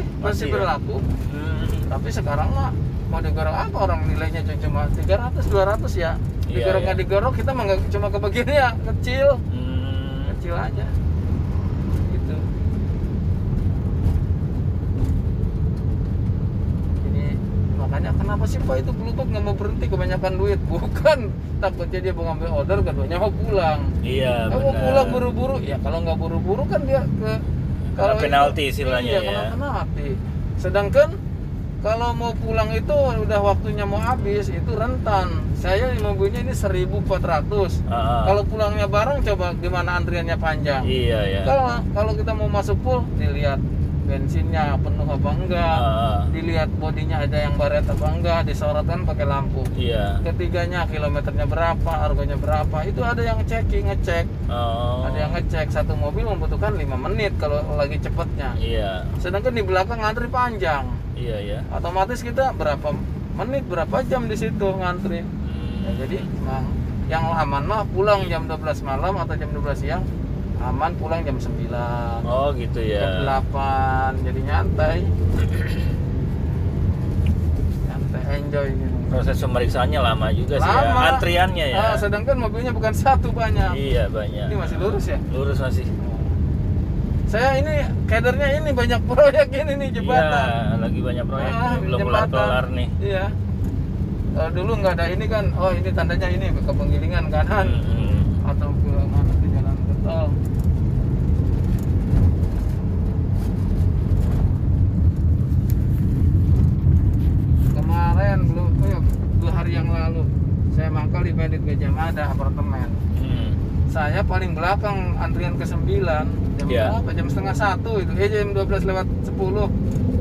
[SPEAKER 2] Masih
[SPEAKER 3] masih
[SPEAKER 2] ya?
[SPEAKER 3] berlaku tapi sekarang mah mau digorok apa orang nilainya cuma 300 200 ya
[SPEAKER 2] Iya,
[SPEAKER 3] digorok
[SPEAKER 2] iya.
[SPEAKER 3] nggak digorok kita mah nggak- cuma kebagian ya kecil
[SPEAKER 2] Mm.
[SPEAKER 3] kecil aja gitu jadi makanya kenapa sih pak itu bluetooth nggak mau berhenti kebanyakan duit bukan takutnya dia mau ngambil order keduanya mau pulang
[SPEAKER 2] Iya
[SPEAKER 3] Eh, mau
[SPEAKER 2] benar.
[SPEAKER 3] pulang buru-buru ya kalau nggak buru-buru kan dia ke
[SPEAKER 2] Kena penalti istilahnya
[SPEAKER 3] iya,
[SPEAKER 2] ya.
[SPEAKER 3] kena penalti sedangkan kalau mau pulang itu udah waktunya mau habis itu rentan saya mobilnya ini 1400
[SPEAKER 2] Ah, ah.
[SPEAKER 3] kalau pulangnya bareng coba gimana antriannya panjang
[SPEAKER 2] Iya ya.
[SPEAKER 3] kalau kalau kita mau masuk full dilihat bensinnya penuh apa enggak
[SPEAKER 2] Ah,
[SPEAKER 3] dilihat bodinya ada yang baret apa enggak disorotkan pakai lampu
[SPEAKER 2] Iya.
[SPEAKER 3] ketiganya kilometernya berapa harganya berapa itu ada yang checking ngecek
[SPEAKER 2] Oh.
[SPEAKER 3] ada yang ngecek satu mobil membutuhkan lima menit kalau lagi cepetnya
[SPEAKER 2] Iya.
[SPEAKER 3] sedangkan di belakang ngantri panjang
[SPEAKER 2] Iya ya.
[SPEAKER 3] otomatis kita berapa menit berapa jam di situ ngantri
[SPEAKER 2] Hmm.
[SPEAKER 3] Ya, jadi emang yang aman mah pulang jam 12 malam atau jam 12 siang aman pulang jam 9
[SPEAKER 2] Oh gitu
[SPEAKER 3] jam
[SPEAKER 2] ya.
[SPEAKER 3] 8 jadi nyantai nyantai enjoy gitu
[SPEAKER 2] Proses pemeriksaannya lama juga sih ya.
[SPEAKER 3] Lama.
[SPEAKER 2] Antriannya ya.
[SPEAKER 3] Ah, sedangkan mobilnya bukan satu banyak
[SPEAKER 2] Iya banyak.
[SPEAKER 3] ini masih lurus ya
[SPEAKER 2] Lurus masih.
[SPEAKER 3] saya ini kadernya ini banyak proyek ini nih jembatan
[SPEAKER 2] Iya, lagi banyak proyek
[SPEAKER 3] Ah,
[SPEAKER 2] belum
[SPEAKER 3] jembatan.
[SPEAKER 2] kelar-kelar nih.
[SPEAKER 3] iya Kalau dulu nggak ada ini kan oh ini tandanya ini ke penggilingan kanan
[SPEAKER 2] Hmm.
[SPEAKER 3] atau ke mana ke jalan ke tol kemarin belum eh, dua hari yang lalu saya mangkal di Bandit Gajah Mada apartemen
[SPEAKER 2] Hmm.
[SPEAKER 3] saya paling belakang antrian ke 9 jam
[SPEAKER 2] Iya.
[SPEAKER 3] berapa jam setengah satu itu eh jam 12 lewat 10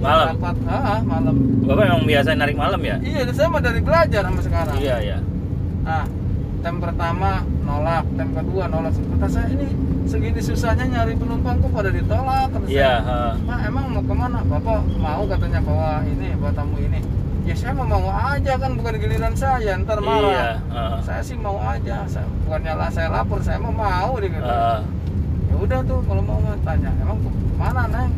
[SPEAKER 2] Malam?
[SPEAKER 3] Dapat, ah, malam
[SPEAKER 2] Bapak emang biasa narik malam ya?
[SPEAKER 3] iya sama dari belajar sampai sekarang
[SPEAKER 2] Iya ya.
[SPEAKER 3] Nah, tem pertama nolak, tem kedua nolak. Kata saya ini segini susahnya nyari penumpang kok pada ditolak. Kata
[SPEAKER 2] Iya.
[SPEAKER 3] saya, Pak emang mau kemana? Bapak mau katanya bawa ini, bawa tamu ini. Ya saya mau mau aja kan bukan giliran saya,
[SPEAKER 2] ha.
[SPEAKER 3] ntar marah.
[SPEAKER 2] Iya. ha.
[SPEAKER 3] Saya sih mau aja, saya, bukannya lah saya lapor, saya mau mau dia gitu.
[SPEAKER 2] Ah,
[SPEAKER 3] Ya udah tuh kalau mau mah tanya, emang mana neng?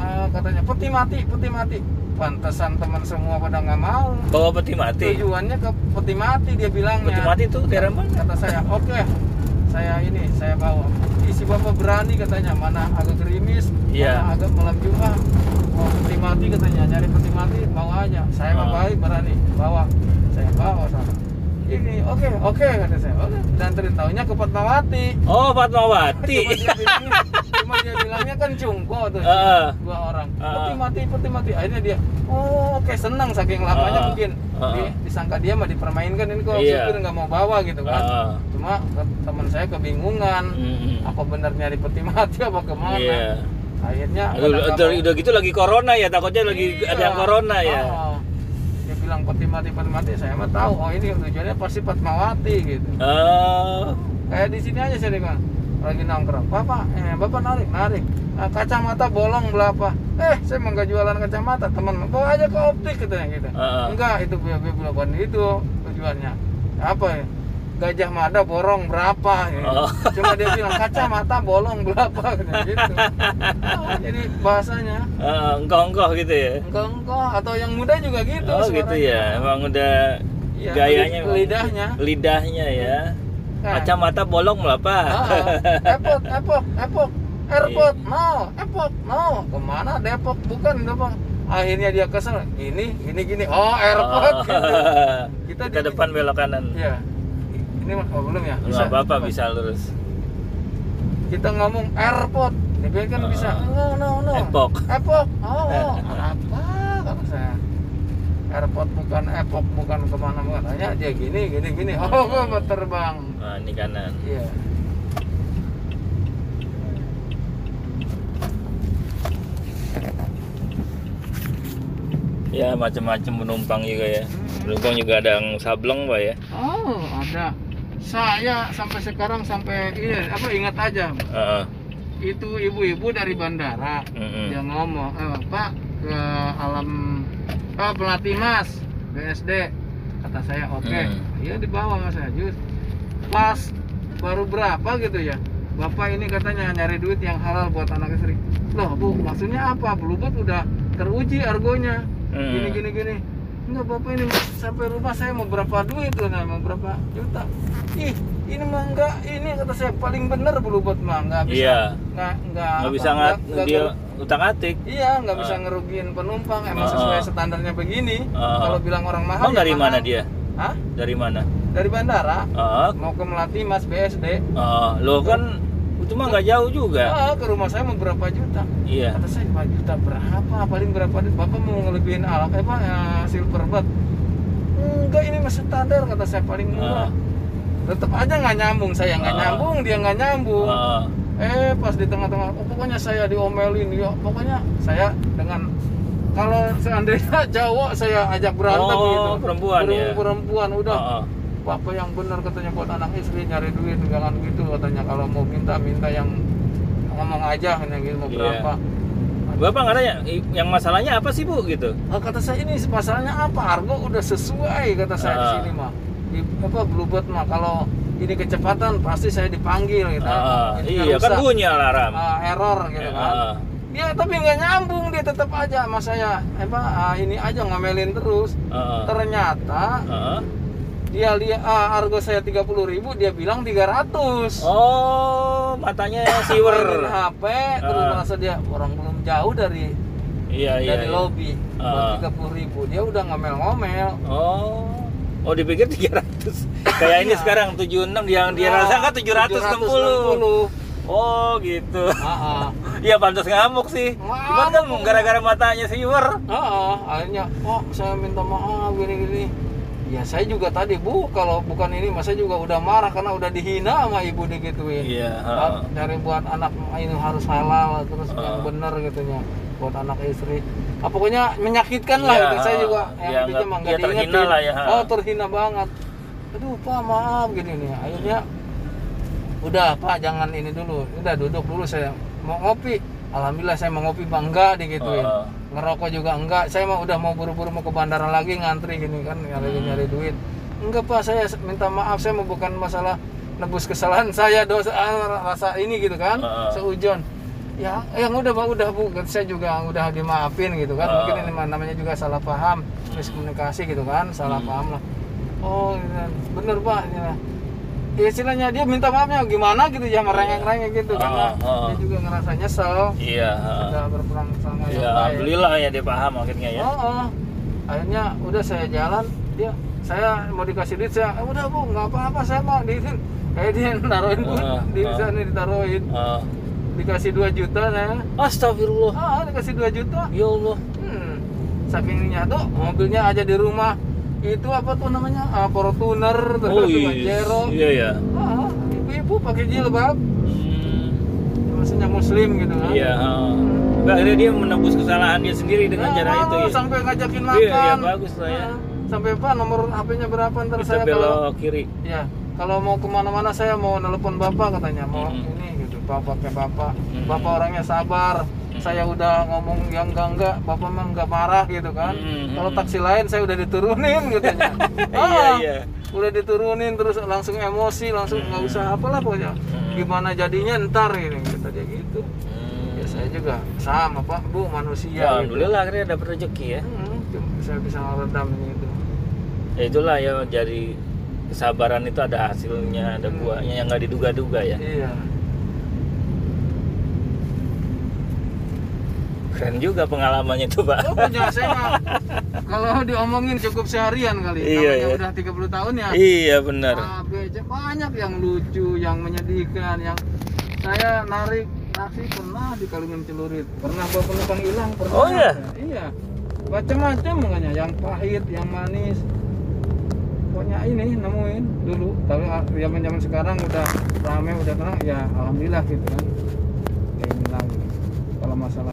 [SPEAKER 3] Eh, katanya peti mati, peti mati. Pantesan teman semua pada nggak mau.
[SPEAKER 2] Bawa peti mati.
[SPEAKER 3] Tujuannya ke peti mati dia bilangnya.
[SPEAKER 2] Peti mati tuh daerah mana?
[SPEAKER 3] kata saya oke saya ini saya bawa isi bapak berani katanya mana agak gerimis
[SPEAKER 2] Iya.
[SPEAKER 3] mana agak malam jumat mau peti mati katanya nyari peti mati mau aja saya mah
[SPEAKER 2] Ah.
[SPEAKER 3] baik berani bawa saya bawa sana ini oke oke kata saya oke dan terintaunya ke Fatmawati
[SPEAKER 2] Oh,
[SPEAKER 3] cuma
[SPEAKER 2] Fatmawati.
[SPEAKER 3] dia bilangnya cuma dia bilangnya kan jungko tuh
[SPEAKER 2] Heeh.
[SPEAKER 3] dua orang
[SPEAKER 2] Ah.
[SPEAKER 3] peti mati peti mati akhirnya dia oh oke senang saking lamanya
[SPEAKER 2] Ah.
[SPEAKER 3] mungkin
[SPEAKER 2] Ah.
[SPEAKER 3] Di- disangka dia mah dipermainkan ini kok
[SPEAKER 2] Iya.
[SPEAKER 3] supir nggak mau bawa gitu kan
[SPEAKER 2] Ah.
[SPEAKER 3] cuma ke- teman saya kebingungan
[SPEAKER 2] Mm-mm.
[SPEAKER 3] apa benar nyari peti mati apa kemana
[SPEAKER 2] Hmm, Iya.
[SPEAKER 3] akhirnya
[SPEAKER 2] Aduh,
[SPEAKER 3] pada nggak
[SPEAKER 2] Udah,
[SPEAKER 3] mau-
[SPEAKER 2] udah gitu lagi corona ya, takutnya lagi
[SPEAKER 3] Iya.
[SPEAKER 2] ada yang corona ya.
[SPEAKER 3] Ah. dia bilang peti mati peti mati saya mah tahu oh ini tujuannya pasti Fatmawati gitu
[SPEAKER 2] Oh.
[SPEAKER 3] Ah. kayak di sini aja saya bilang lagi nongkrong bapak eh bapak narik narik Nah, kacamata bolong berapa eh saya mau nggak jualan kacamata teman bawa aja ke optik katanya gitu
[SPEAKER 2] Ah, ah.
[SPEAKER 3] enggak itu gue bukan itu tujuannya apa ya gajah mada borong berapa gitu.
[SPEAKER 2] Oh.
[SPEAKER 3] cuma dia bilang kacamata bolong berapa katanya gitu Ah, jadi bahasanya
[SPEAKER 2] Ah, Engkoh-engkoh gitu ya.
[SPEAKER 3] enggak enggak atau yang muda juga gitu
[SPEAKER 2] Oh, gitu
[SPEAKER 3] suaranya.
[SPEAKER 2] ya. Emang udah
[SPEAKER 3] Iya,
[SPEAKER 2] gayanya emang-
[SPEAKER 3] lidahnya.
[SPEAKER 2] Lidahnya ya.
[SPEAKER 3] Nah.
[SPEAKER 2] Kacamata bolong melapa.
[SPEAKER 3] Ah, Epok, Epok, Epok, Airport,
[SPEAKER 2] Iya.
[SPEAKER 3] no, Epok, no. Kemana Depok? Bukan Depok. Akhirnya dia kesel, gini, gini, gini. Oh, Airport.
[SPEAKER 2] Oh.
[SPEAKER 3] Gitu.
[SPEAKER 2] Kita,
[SPEAKER 3] Kita di-
[SPEAKER 2] depan belok kanan.
[SPEAKER 3] Iya. Ini mah oh, belum ya?
[SPEAKER 2] Enggak apa-apa bisa lurus.
[SPEAKER 3] Kita ngomong Airport, dia bilang kan bisa. No,
[SPEAKER 2] Oh.
[SPEAKER 3] no, no.
[SPEAKER 2] Epok.
[SPEAKER 3] Epok. Oh, oh. apa kata saya? Airport bukan Epok, bukan kemana bukan. Hanya dia gini, gini, gini. Oh, gua mau terbang.
[SPEAKER 2] Nah, ini kanan.
[SPEAKER 3] Iya.
[SPEAKER 2] Ya, macam-macam penumpang juga ya. Penumpang juga ada yang sableng, Pak ya.
[SPEAKER 3] Oh, ada. saya sampai sekarang sampai ini apa ingat aja
[SPEAKER 2] Heeh.
[SPEAKER 3] itu ibu-ibu dari bandara
[SPEAKER 2] Mm-mm.
[SPEAKER 3] yang ngomong eh, pak ke alam ah, pelatih mas BSD kata saya oke
[SPEAKER 2] Mm.
[SPEAKER 3] ya dibawa mas Ajus pas baru berapa gitu ya bapak ini katanya nyari duit yang halal buat anak istri loh bu maksudnya apa Bluebird udah teruji argonya
[SPEAKER 2] Mm.
[SPEAKER 3] gini gini gini enggak bapak ini sampai rumah saya mau berapa duit loh nah, mau berapa juta ih ini mah enggak ini kata saya paling bener Bluebird mah enggak bisa
[SPEAKER 2] Iya.
[SPEAKER 3] nggak nggak
[SPEAKER 2] Nggak
[SPEAKER 3] apa,
[SPEAKER 2] bisa ngat
[SPEAKER 3] nggak-
[SPEAKER 2] dia
[SPEAKER 3] nggak-
[SPEAKER 2] utang atik.
[SPEAKER 3] iya nggak bisa
[SPEAKER 2] Ah.
[SPEAKER 3] ngerugiin penumpang emang
[SPEAKER 2] Ah,
[SPEAKER 3] sesuai
[SPEAKER 2] ah.
[SPEAKER 3] standarnya begini
[SPEAKER 2] Ah.
[SPEAKER 3] kalau bilang orang mahal
[SPEAKER 2] Emang
[SPEAKER 3] ya
[SPEAKER 2] dari mana
[SPEAKER 3] mahal.
[SPEAKER 2] dia?
[SPEAKER 3] Hah?
[SPEAKER 2] Dari mana?
[SPEAKER 3] dari bandara
[SPEAKER 2] Heeh.
[SPEAKER 3] mau ke Melati Mas BSD
[SPEAKER 2] Heeh. Lo kan itu mah nggak jauh juga.
[SPEAKER 3] ah, ke rumah saya mau berapa juta
[SPEAKER 2] Iya.
[SPEAKER 3] kata saya "Pak, juta berapa paling berapa duit bapak mau ngelebihin alat apa ya, silverbird enggak ini masih standar kata saya paling
[SPEAKER 2] Ah.
[SPEAKER 3] murah tetap aja nggak nyambung saya nggak
[SPEAKER 2] Ah.
[SPEAKER 3] nyambung dia nggak nyambung
[SPEAKER 2] Heeh.
[SPEAKER 3] eh pas di tengah-tengah oh, pokoknya saya diomelin ya pokoknya saya dengan kalau seandainya cowok saya ajak berantem
[SPEAKER 2] Oh,
[SPEAKER 3] gitu
[SPEAKER 2] perempuan ya? Ah.
[SPEAKER 3] Perempuan- perempuan udah
[SPEAKER 2] Heeh.
[SPEAKER 3] apa yang benar katanya buat anak istri nyari duit jangan gitu katanya kalau mau minta minta yang ngomong aja hanya gitu mau
[SPEAKER 2] Iya.
[SPEAKER 3] berapa
[SPEAKER 2] Bapak nggak nanya i- yang masalahnya apa sih bu gitu?
[SPEAKER 3] Ah, kata saya ini masalahnya apa argo udah sesuai kata saya di
[SPEAKER 2] Ah.
[SPEAKER 3] sini mah di apa bluebird mah kalau ini kecepatan pasti saya dipanggil gitu
[SPEAKER 2] Heeh.
[SPEAKER 3] Ini
[SPEAKER 2] Iya
[SPEAKER 3] rusak.
[SPEAKER 2] kan bunyi alarm. Ya, ah,
[SPEAKER 3] Ah, error gitu kan
[SPEAKER 2] Heeh.
[SPEAKER 3] Dia tapi nggak nyambung dia tetap aja sama saya. Apa ah, ini aja ngomelin terus.
[SPEAKER 2] Heeh.
[SPEAKER 3] Ternyata
[SPEAKER 2] Heeh.
[SPEAKER 3] dia lihat ah, argo saya 30.000 dia bilang 300.
[SPEAKER 2] Oh, matanya
[SPEAKER 3] Mainin
[SPEAKER 2] siwer.
[SPEAKER 3] HP terus
[SPEAKER 2] Ah.
[SPEAKER 3] merasa dia orang belum jauh dari
[SPEAKER 2] Iya, iya.
[SPEAKER 3] dari
[SPEAKER 2] iya.
[SPEAKER 3] lobby.
[SPEAKER 2] Ah.
[SPEAKER 3] Tiga dia udah ngomel-ngomel.
[SPEAKER 2] Oh. Oh, dipikir 300. Kayak ini
[SPEAKER 3] Iya.
[SPEAKER 2] sekarang 76 yang dia
[SPEAKER 3] Nah,
[SPEAKER 2] rasa kan 760.
[SPEAKER 3] 760.
[SPEAKER 2] Oh, gitu.
[SPEAKER 3] Ah, ah.
[SPEAKER 2] Iya, pantas ngamuk sih. Cuman kan
[SPEAKER 3] Ngamuk.
[SPEAKER 2] gara-gara matanya siwer.
[SPEAKER 3] Ah, ah, akhirnya oh saya minta maaf gini-gini. Ya saya juga tadi bu kalau bukan ini mas saya juga udah marah karena udah dihina sama ibu digituin.
[SPEAKER 2] Iya, heeh.
[SPEAKER 3] Kan, dari buat anak ini harus halal terus yang
[SPEAKER 2] Ah.
[SPEAKER 3] benar gitunya buat anak istri ah, pokoknya menyakitkan lah
[SPEAKER 2] Iya,
[SPEAKER 3] gitu. saya juga
[SPEAKER 2] ah.
[SPEAKER 3] yang
[SPEAKER 2] Ya,
[SPEAKER 3] intinya
[SPEAKER 2] nggak-
[SPEAKER 3] mah nggak
[SPEAKER 2] ya, terhina
[SPEAKER 3] diingetin.
[SPEAKER 2] lah ya, ah.
[SPEAKER 3] oh terhina banget aduh pak maaf gini nih akhirnya udah pak jangan ini dulu udah duduk dulu saya mau ngopi alhamdulillah saya mau ngopi bang enggak digituin
[SPEAKER 2] Ah.
[SPEAKER 3] ngerokok juga enggak saya mah udah mau buru-buru mau ke bandara lagi ngantri gini kan nyari
[SPEAKER 2] Hmm.
[SPEAKER 3] nyari duit enggak pak saya minta maaf saya mau bukan masalah nebus kesalahan saya dosa ah, rasa ini gitu kan
[SPEAKER 2] Heeh.
[SPEAKER 3] seujon ya yang udah pak udah bu Kan saya juga udah dimaafin gitu kan mungkin
[SPEAKER 2] Heeh.
[SPEAKER 3] ini mah namanya juga salah paham miskomunikasi gitu kan salah
[SPEAKER 2] Hmm.
[SPEAKER 3] paham lah oh iya, bener pak ya ya istilahnya dia minta maafnya gimana gitu ya merengek-rengek gitu
[SPEAKER 2] Heeh,
[SPEAKER 3] karena
[SPEAKER 2] heeh.
[SPEAKER 3] dia juga ngerasa nyesel
[SPEAKER 2] Iya, heeh.
[SPEAKER 3] udah berperang sama
[SPEAKER 2] Ya,
[SPEAKER 3] yang baik.
[SPEAKER 2] alhamdulillah ya dia paham akhirnya ya.
[SPEAKER 3] Oh, oh. akhirnya udah saya jalan dia saya mau dikasih duit saya "Eh, udah bu nggak apa-apa saya mau diizin kayak dia naruhin bu
[SPEAKER 2] Ah,
[SPEAKER 3] di
[SPEAKER 2] ah.
[SPEAKER 3] sana ditaruhin
[SPEAKER 2] Heeh.
[SPEAKER 3] dikasih 2 juta saya
[SPEAKER 2] Astagfirullah.
[SPEAKER 3] ah dikasih 2 juta
[SPEAKER 2] Ya Allah.
[SPEAKER 3] hmm. saking nyatu mobilnya aja di rumah itu apa tuh namanya Ah, Fortuner terus
[SPEAKER 2] Oh,
[SPEAKER 3] juga
[SPEAKER 2] iya.
[SPEAKER 3] Jero
[SPEAKER 2] Iya, ya.
[SPEAKER 3] Ah, ibu-ibu pakai jilbab Hmm. maksudnya muslim gitu kan
[SPEAKER 2] Iya, heeh. Tapi akhirnya dia menebus kesalahan dia sendiri dengan cara
[SPEAKER 3] Ah,
[SPEAKER 2] itu ya.
[SPEAKER 3] sampai ngajakin
[SPEAKER 2] Iya,
[SPEAKER 3] makan
[SPEAKER 2] iya, bagus lah ya.
[SPEAKER 3] Ah, sampai pak nomor HP-nya berapa ntar
[SPEAKER 2] Bisa
[SPEAKER 3] saya kalau
[SPEAKER 2] belok kiri.
[SPEAKER 3] ya kalau mau kemana-mana saya mau nelpon bapak katanya mau
[SPEAKER 2] Mhm.
[SPEAKER 3] ini gitu bapak ke bapak
[SPEAKER 2] Mhm.
[SPEAKER 3] bapak orangnya sabar saya udah ngomong yang enggak enggak bapak mah enggak marah gitu kan
[SPEAKER 2] Mhm.
[SPEAKER 3] kalau taksi lain saya udah diturunin katanya
[SPEAKER 2] Iya, iya.
[SPEAKER 3] udah diturunin terus langsung emosi langsung nggak usah apalah pokoknya
[SPEAKER 2] Mhm.
[SPEAKER 3] gimana jadinya ntar ini gitu dia gitu ya saya juga sama pak
[SPEAKER 2] Ya,
[SPEAKER 3] bu manusia gitu
[SPEAKER 2] Hmm. alhamdulillah akhirnya dapat rezeki ya.
[SPEAKER 3] Mhm, cuma saya bisa meredam gitu
[SPEAKER 2] Ya itulah ya jadi kesabaran itu ada hasilnya,
[SPEAKER 3] Hmm.
[SPEAKER 2] ada buahnya yang nggak diduga-duga ya.
[SPEAKER 3] iya
[SPEAKER 2] Keren juga pengalamannya tuh,
[SPEAKER 3] Oh,
[SPEAKER 2] Pak.
[SPEAKER 3] punya saya mah. Kalau diomongin cukup seharian kali.
[SPEAKER 2] Iya,
[SPEAKER 3] Namanya
[SPEAKER 2] iya.
[SPEAKER 3] udah 30 tahun ya.
[SPEAKER 2] Iya benar.
[SPEAKER 3] A, B, C, banyak yang lucu, yang menyedihkan, yang saya narik taksi pernah di Kalungan Celurit, pernah bawa penumpang hilang, pernah.
[SPEAKER 2] Oh, iya?
[SPEAKER 3] Iya. Macam-macam makanya, yang pahit, yang manis. Pokoknya ini nemuin dulu, tapi ah, zaman-zaman sekarang udah rame, udah tenang, ya alhamdulillah gitu kan. Kayak hilang kalau masalah